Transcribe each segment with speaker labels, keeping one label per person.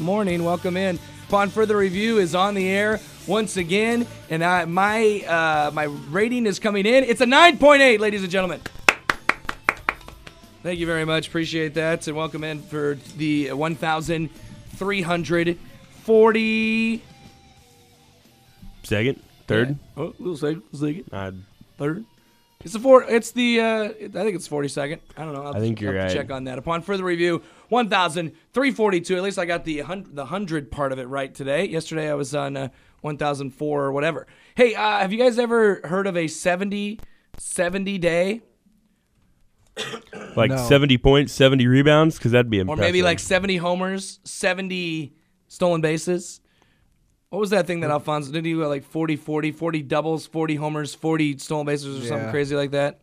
Speaker 1: welcome in. Upon further review is on the air once again, and I, my uh, my rating is coming in. It's a 9.8, ladies and gentlemen. Thank you very much. Appreciate that. And welcome in for the 1,340.
Speaker 2: Second, third,
Speaker 1: Oh, little second, little second,
Speaker 2: I,
Speaker 1: third. It's the four. It's the. Uh, it- I think it's forty second. I don't know. I'll
Speaker 2: I think
Speaker 1: have
Speaker 2: you're
Speaker 1: to
Speaker 2: right.
Speaker 1: Check on that. Upon further review, one thousand three forty two. At least I got the hundred, the hundred part of it right today. Yesterday I was on uh, one thousand four or whatever. Hey, uh, have you guys ever heard of a 70, 70 day
Speaker 2: like
Speaker 3: No.
Speaker 2: seventy points, seventy rebounds, because that'd be
Speaker 1: or
Speaker 2: impressive.
Speaker 1: maybe like seventy homers, seventy stolen bases? What was that thing that Alfonso did? He go like 40, 40, 40 doubles, forty homers, forty stolen bases, or something
Speaker 3: Yeah.
Speaker 1: crazy like that.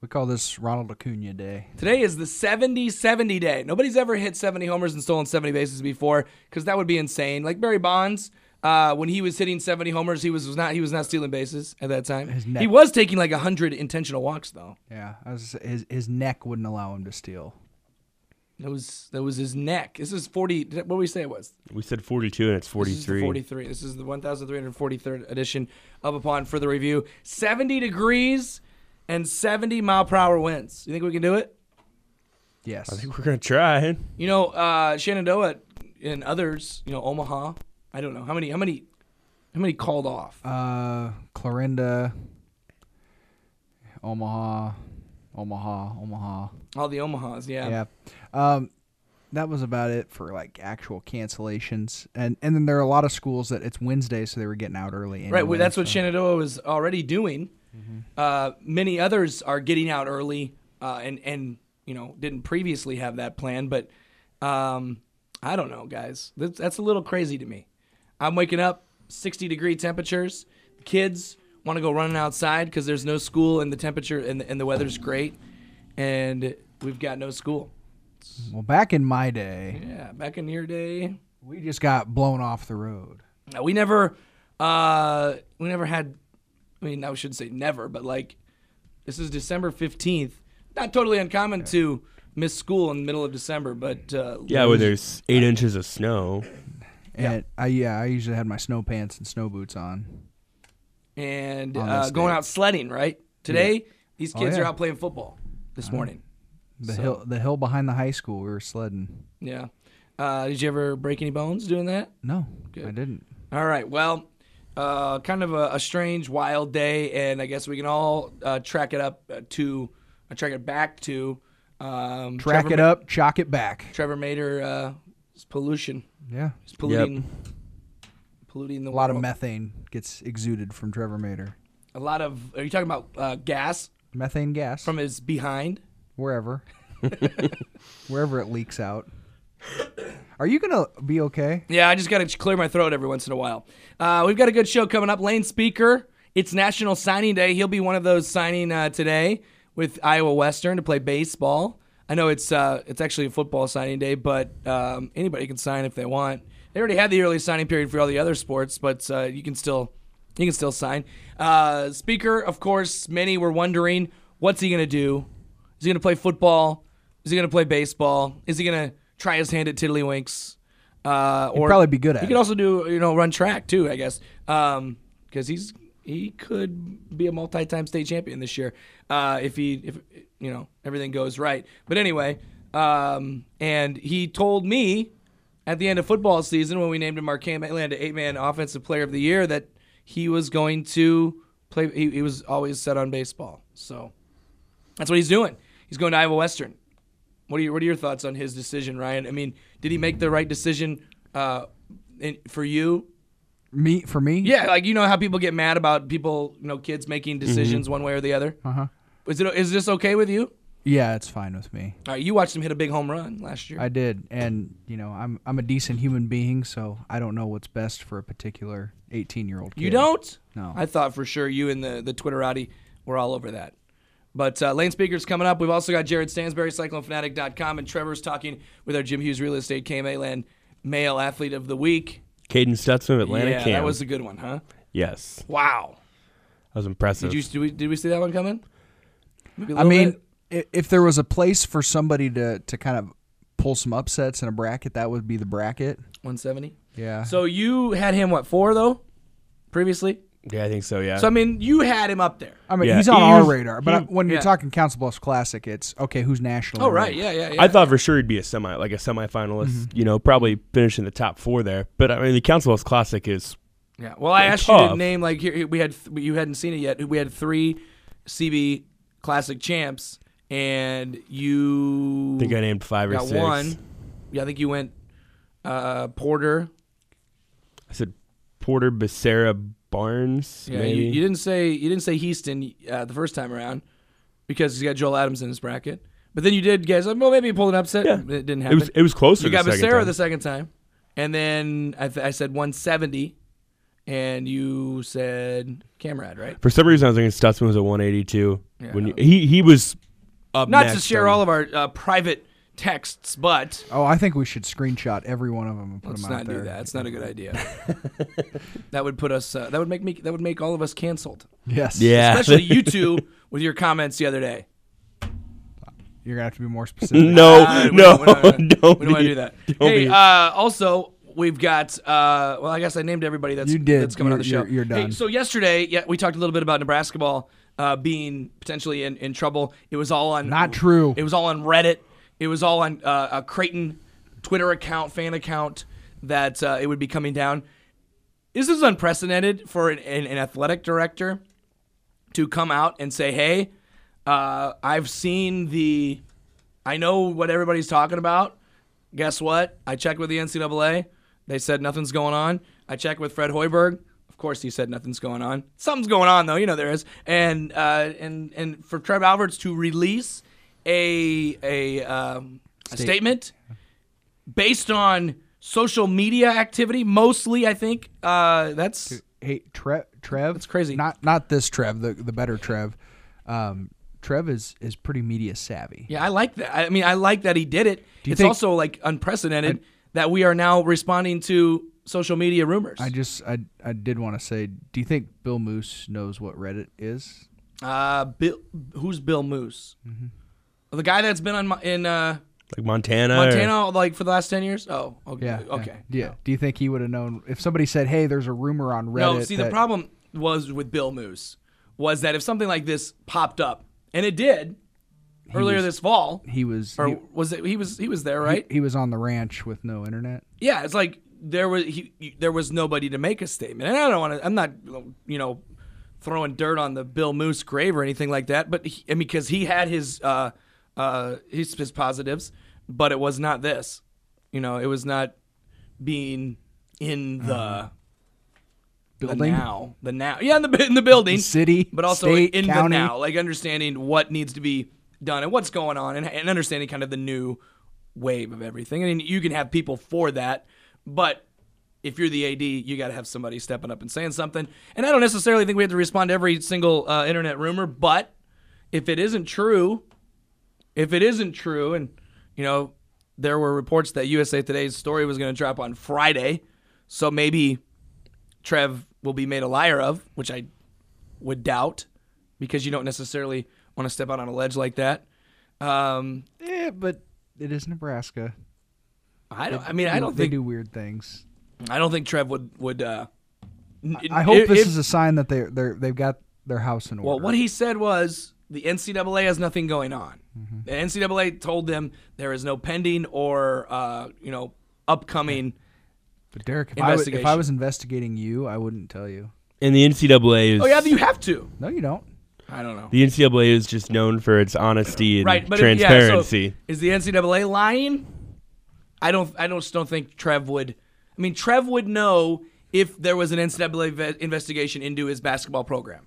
Speaker 3: We call this Ronald Acuna Day.
Speaker 1: Today is the 70 70 day. Nobody's ever hit 70 homers and stolen 70 bases before because that would be insane. Like Barry Bonds. Uh, when he was hitting 70 homers, he was, was not he was not stealing bases at that time.
Speaker 3: neck-
Speaker 1: He was taking like 100 intentional walks though.
Speaker 3: Yeah, I was, his his neck wouldn't allow him to steal.
Speaker 1: That was that was his neck. This is 40. did- What did we say it was?
Speaker 2: we said forty-two, and it's
Speaker 1: This is the
Speaker 2: forty-three.
Speaker 1: 43. This is the 1,343rd edition of Upon Further Review. 70 degrees and 70 mile per hour winds. You think we can do it?
Speaker 3: Yes,
Speaker 2: I think we're gonna try.
Speaker 1: You know, uh, Shenandoah and others. You know, Omaha. I don't know how many. How many? How many called off?
Speaker 3: Uh, Clarinda, Omaha, Omaha, Omaha.
Speaker 1: All the Omahas. Yeah.
Speaker 3: Yeah. Um, that was about it for like actual cancellations, and and then there are a lot of schools that it's Wednesday, so they were getting out early. Anyway,
Speaker 1: Right. Well, that's what
Speaker 3: so-
Speaker 1: Shenandoah was already doing. Uh, many others are getting out early, uh, and and you know didn't previously have that plan, but um, I don't know, guys. That's, that's a little crazy to me. I'm waking up 60 degree temperatures. Kids want to go running outside because there's no school and the temperature and the, and the weather's great, and we've got no school.
Speaker 3: Well, back in my day,
Speaker 1: Yeah, back in your day,
Speaker 3: we just got blown off the road.
Speaker 1: No, we never, uh, we never had. I mean, I should say never, but like, this is December fifteenth. Not totally uncommon to miss school in the middle of December, but uh,
Speaker 2: Yeah, where there's eight inches of snow.
Speaker 3: And I yeah, I usually had my snow pants and snow boots on.
Speaker 1: and
Speaker 3: On
Speaker 1: uh,
Speaker 3: this
Speaker 1: going
Speaker 3: day.
Speaker 1: out sledding. Right today, these
Speaker 3: Oh,
Speaker 1: kids are
Speaker 3: yeah.
Speaker 1: out playing football this morning.
Speaker 3: The
Speaker 1: So-
Speaker 3: hill the hill behind the high school we were sledding.
Speaker 1: Yeah. Uh, did you ever break any bones doing that?
Speaker 3: No, I
Speaker 1: Good.
Speaker 3: didn't.
Speaker 1: All right. Well, uh, kind of a, a strange, wild day, and I guess we can all uh, track it up uh, to, uh, track it back to. Um,
Speaker 3: Track
Speaker 1: Trevor
Speaker 3: it up, chalk it back.
Speaker 1: Trevor Mader uh, is pollution.
Speaker 3: Yeah.
Speaker 1: He's polluting, polluting the
Speaker 3: A lot of
Speaker 1: world.
Speaker 3: methane gets exuded from Trevor Mater.
Speaker 1: A lot of. Are you talking about uh, gas
Speaker 3: Methane gas
Speaker 1: from his behind?
Speaker 3: wherever, wherever it leaks out. Are you gonna be okay?
Speaker 1: Yeah, I just got to clear my throat every once in a while. Uh, we've got a good show coming up. Lane Speaker. It's National Signing Day. He'll be one of those signing uh, today with Iowa Western to play baseball. I know it's uh, it's actually a football signing day, but um, anybody can sign if they want. They already had the early signing period for all the other sports, but uh, you can still you can still sign. Uh, speaker, of course, many were wondering what's he gonna do. Is he gonna play football? Is he gonna play baseball? Is he gonna try his hand at tiddlywinks? Uh, or
Speaker 3: probably be good at
Speaker 1: He could
Speaker 3: it.
Speaker 1: also do you know run track too, I guess, because he's he could be a multi-time state champion this year uh, if he if you know everything goes right. But anyway, um, and he told me at the end of football season when we named him our Cam Atlanta eight-man offensive player of the year that he was going to play. He, he was always set on baseball, so that's what he's doing. He's going to Iowa Western. What are your What are your thoughts on his decision, Ryan? I mean, did he make the right decision uh, in, for you?
Speaker 3: Me for me?
Speaker 1: Yeah, like you know how people get mad about people, you know, kids making decisions one way or the other.
Speaker 3: Uh Mm-hmm. huh.
Speaker 1: Is it is this okay with you?
Speaker 3: Yeah, it's fine with me.
Speaker 1: All right, you watched him hit a big home run last year.
Speaker 3: I did, and you know, I'm I'm a decent human being, so I don't know what's best for a particular 18 year old.
Speaker 1: you don't?
Speaker 3: No.
Speaker 1: I thought for sure you and the the Twitterati were all over that. But uh, Lane Speaker's coming up. We've also got Jared Stansberry, CycloneFanatic.com, and Trevor's talking with our Jim Hughes Real Estate KMA Land Male Athlete of the Week.
Speaker 2: Caden Stutzman, Atlanta
Speaker 1: yeah,
Speaker 2: Cam.
Speaker 1: that was a good one, huh?
Speaker 2: yes,
Speaker 1: Wow.
Speaker 2: that was impressive.
Speaker 1: Did you did we, did we see that one coming? Maybe a
Speaker 3: I
Speaker 1: little
Speaker 3: mean,
Speaker 1: bit?
Speaker 3: i if there was a place for somebody to to kind of pull some upsets in a bracket, that would be the bracket.
Speaker 1: 170.
Speaker 3: Yeah.
Speaker 1: So you had him what four though, previously.
Speaker 2: Yeah, I think so. Yeah.
Speaker 1: So I mean, you had him up there.
Speaker 3: I mean,
Speaker 2: Yeah,
Speaker 3: he's on
Speaker 2: he
Speaker 3: our
Speaker 2: was-
Speaker 3: radar, but I- when
Speaker 1: yeah.
Speaker 3: you're talking Council Bluffs Classic, it's okay. Who's national?
Speaker 1: Oh right, yeah, yeah. yeah.
Speaker 2: I thought for sure he'd be a semi, like a semifinalist. You know, probably finishing the top four there. But I mean, the Council House Classic is
Speaker 1: Yeah. Well, I asked you to
Speaker 2: tough.
Speaker 1: name like here here- we had th- you hadn't seen it yet. We had three CB Classic champs, and you
Speaker 2: I think I named five or
Speaker 1: got
Speaker 2: six.
Speaker 1: one. Yeah, I think you went uh, Porter.
Speaker 2: I said Porter, Becerra, Barnes.
Speaker 1: Yeah,
Speaker 2: maybe.
Speaker 1: you, you didn't say you didn't say Houston uh, the first time around because he's got Joel Adams in his bracket. But then you did guys. Like, well, maybe he pulled an upset.
Speaker 2: Yeah.
Speaker 1: It didn't
Speaker 2: it
Speaker 1: happen.
Speaker 2: was it was closer.
Speaker 1: you
Speaker 2: the
Speaker 1: got
Speaker 2: second
Speaker 1: Becerra
Speaker 2: time.
Speaker 1: the second time, and then I, th- I said 170, and you said Camrad, right?
Speaker 2: For some reason, I was thinking Stutzman was a 182.
Speaker 1: Yeah.
Speaker 2: When you, he he was up
Speaker 1: Not to
Speaker 2: next
Speaker 1: share
Speaker 2: on-
Speaker 1: all of our uh, private texts, but
Speaker 3: Oh, I think we should screenshot every one of them and put
Speaker 1: let's
Speaker 3: them out
Speaker 1: not
Speaker 3: there.
Speaker 1: do that. It's not a good idea. that would put us. Uh, that would make me. That would make all of us canceled.
Speaker 3: Yes.
Speaker 2: Yeah.
Speaker 1: Especially you two with your comments the other day.
Speaker 3: You're gonna have to be more specific.
Speaker 2: no,
Speaker 1: Uh, we
Speaker 2: no,
Speaker 1: don't- we don't- we
Speaker 2: don't.
Speaker 1: We don't want
Speaker 2: be-
Speaker 1: to do that.
Speaker 2: don't
Speaker 1: Hey,
Speaker 2: be-
Speaker 1: uh, also we've got. Uh, well, I guess I named everybody that's
Speaker 3: You did.
Speaker 1: that's coming on the
Speaker 3: You're-
Speaker 1: show.
Speaker 3: you're- you're
Speaker 1: Hey,
Speaker 3: done.
Speaker 1: so yesterday, yeah, we talked a little bit about Nebraska ball uh, being potentially in, in trouble. It was all on
Speaker 3: Not true.
Speaker 1: It was all on Reddit. It was all on uh, a Creighton Twitter account, fan account that uh, it would be coming down. This is unprecedented for an, an, an athletic director to come out and say, "Hey, uh, I've seen the, I know what everybody's talking about. Guess what? I checked with the NCAA. They said nothing's going on. I checked with Fred Hoiberg. Of course, he said nothing's going on. Something's going on though. You know there is. And uh, and and for Trev Alberts to release a a, um, a statement based on social media activity, mostly, I think uh, that's."
Speaker 3: Hey, Trev. Trev.
Speaker 1: That's crazy.
Speaker 3: Not not this Trev. The the better Trev. Um, Trev is is pretty media savvy.
Speaker 1: Yeah, I like that. I mean, I like that he did it.
Speaker 3: you
Speaker 1: It's
Speaker 3: think-
Speaker 1: also like unprecedented that we are now responding to social media rumors.
Speaker 3: I just I I did want to say, do you think Bill Moose knows what Reddit is?
Speaker 1: uh, Bill, who's Bill Moose?
Speaker 3: Mm-hmm.
Speaker 1: The guy that's been on Mo- in uh,
Speaker 2: Like Montana. or-
Speaker 1: Montana like for the last ten years. Oh, okay,
Speaker 3: Oh, Yeah. yeah,
Speaker 1: okay.
Speaker 3: Yeah. Do you think he would have known if somebody said, "Hey, there's a rumor on Reddit"?
Speaker 1: No, see, the
Speaker 3: that-
Speaker 1: problem was with Bill Moose was that if something like this popped up, and it did earlier
Speaker 3: was-
Speaker 1: this fall,
Speaker 3: he was
Speaker 1: or
Speaker 3: he-
Speaker 1: was it? He was he was there, right?
Speaker 3: he was on the ranch with no internet.
Speaker 1: yeah, it's like there was he, he- there was nobody to make a statement, and I don't want to. I'm not you know throwing dirt on the Bill Moose grave or anything like that, but he, I mean because he had his uh uh his, his positives, but it was not this. You know, it was not being in the.
Speaker 3: Building?
Speaker 1: The now, the now, yeah, in the in the building,
Speaker 3: city,
Speaker 1: but also
Speaker 3: state,
Speaker 1: in
Speaker 3: county.
Speaker 1: the now, like understanding what needs to be done and what's going on, and, and understanding kind of the new wave of everything. I mean, you can have people for that, but if you're the AD, you got to have somebody stepping up and saying something. And I don't necessarily think we have to respond to every single uh, internet rumor, but if it isn't true, if it isn't true, and you know, there were reports that USA Today's story was going to drop on Friday, so maybe Trev will be made a liar of, which I would doubt, because you don't necessarily want to step out on a ledge like that. Um,
Speaker 3: Yeah, but it is Nebraska.
Speaker 1: I don't. I mean, I
Speaker 3: They-
Speaker 1: don't
Speaker 3: they
Speaker 1: think.
Speaker 3: do weird things.
Speaker 1: I don't think Trev would would. Uh, n-
Speaker 3: I hope
Speaker 1: if-
Speaker 3: this
Speaker 1: if-
Speaker 3: is a sign that they they they've got their house in order.
Speaker 1: Well, what he said was the NCAA has nothing going on.
Speaker 3: Mm-hmm.
Speaker 1: The NCAA told them there is no pending or uh, you know upcoming.
Speaker 3: but Derek, if I, was, if I
Speaker 1: Investigation.
Speaker 3: was investigating you, I wouldn't tell you.
Speaker 2: And the NCAA is.
Speaker 1: Oh yeah, you have to.
Speaker 3: No, you don't.
Speaker 1: I don't know.
Speaker 2: the NCAA is just known for its honesty and
Speaker 1: right, but if-
Speaker 2: transparency.
Speaker 1: Yeah, so is the NCAA lying? I don't. I don't. just Don't think Trev would. I mean, Trev would know if there was an NCAA ve- investigation into his basketball program,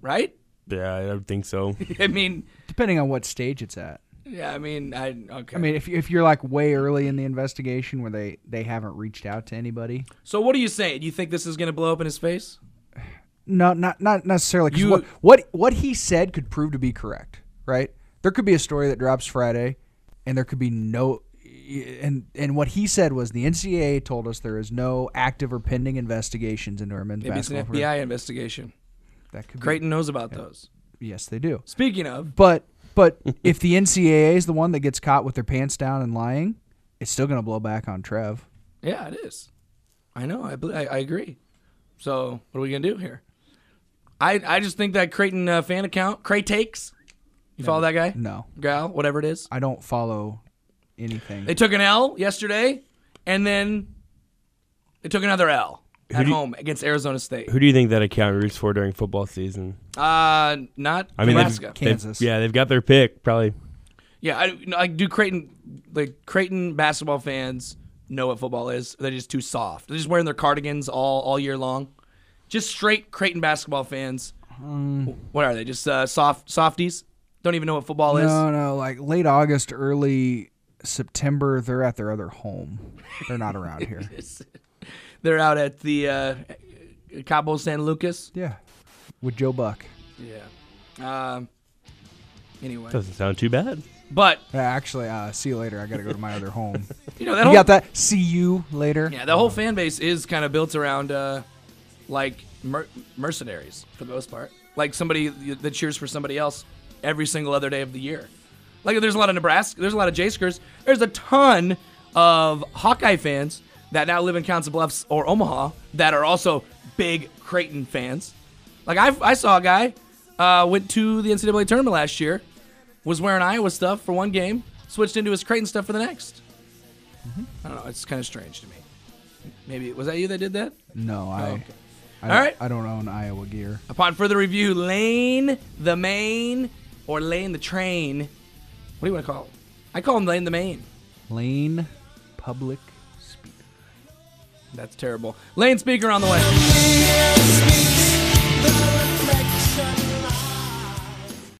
Speaker 1: right?
Speaker 2: yeah, I don't think so.
Speaker 1: I mean,
Speaker 3: Depending on what stage it's at.
Speaker 1: yeah. I mean, I okay.
Speaker 3: I mean, if if you're like way early in the investigation where they they haven't reached out to anybody.
Speaker 1: so what are you saying? You think this is going to blow up in his face?
Speaker 3: No, not not necessarily. 'cause
Speaker 1: You-
Speaker 3: what what what he said could prove to be correct, right? There could be a story that drops Friday, and there could be no. And and what he said was the NCAA told us there is no active or pending investigations into our men's
Speaker 1: Maybe it's an
Speaker 3: basketball. program.
Speaker 1: FBI investigation.
Speaker 3: That could be,
Speaker 1: Creighton knows about those.
Speaker 3: Yes, they do.
Speaker 1: Speaking of,
Speaker 3: But but if the NCAA is the one that gets caught with their pants down and lying, it's still going to blow back on Trev.
Speaker 1: yeah, it is. I know. I, bel- I, I agree. So what are we gonna do here? I I just think that Creighton uh, fan account, Cray takes. You follow that guy?
Speaker 3: No,
Speaker 1: Gal, whatever it is.
Speaker 3: I don't follow anything.
Speaker 1: They took an L yesterday, and then they took another L at
Speaker 2: do you-
Speaker 1: home against Arizona State.
Speaker 2: Who do you think that account roots for during football season?
Speaker 1: Uh, not
Speaker 2: I mean, they've-
Speaker 1: Nebraska.
Speaker 2: they've-
Speaker 3: Kansas.
Speaker 2: yeah, they've got their pick. Probably.
Speaker 1: Yeah, I, no, I do Creighton like Creighton basketball fans know what football is. They're just too soft. They're just wearing their cardigans all all year long. Just straight Creighton basketball fans.
Speaker 3: Hmm.
Speaker 1: what are they? Just uh, soft softies. Don't even know what football is.
Speaker 3: no, no, like late August, early September, they're at their other home. They're not around here.
Speaker 1: They're out at the uh, Cabo San Lucas.
Speaker 3: Yeah, with Joe Buck.
Speaker 1: Yeah. Um. Anyway,
Speaker 2: Doesn't sound too bad.
Speaker 1: but
Speaker 3: Yeah, actually, uh, see you later. I got to go to my other home.
Speaker 1: you know that
Speaker 3: You
Speaker 1: whole
Speaker 3: got that? See you later.
Speaker 1: yeah the whole fan base is kind of built around uh, like mer- mercenaries for the most part. Like somebody that cheers for somebody else every single other day of the year. Like there's a lot of Nebraska, there's a lot of Jayskers, there's a ton of Hawkeye fans that now live in Council Bluffs or Omaha that are also big Creighton fans. Like I, I saw a guy uh, went to the NCAA tournament last year, was wearing Iowa stuff for one game, switched into his Creighton stuff for the next. I don't know. It's kind of strange to me. Maybe was that you that did that? Oh,
Speaker 3: No, I.
Speaker 1: okay.
Speaker 3: I
Speaker 1: All
Speaker 3: don't-
Speaker 1: right.
Speaker 3: I don't own Iowa gear.
Speaker 1: Upon further review, Lane the Main or Lane the Train. What do you want to call? Him? I call him Lane the Main.
Speaker 3: Lane Public Speaker.
Speaker 1: That's terrible. Lane Speaker on the way.
Speaker 4: Speaker,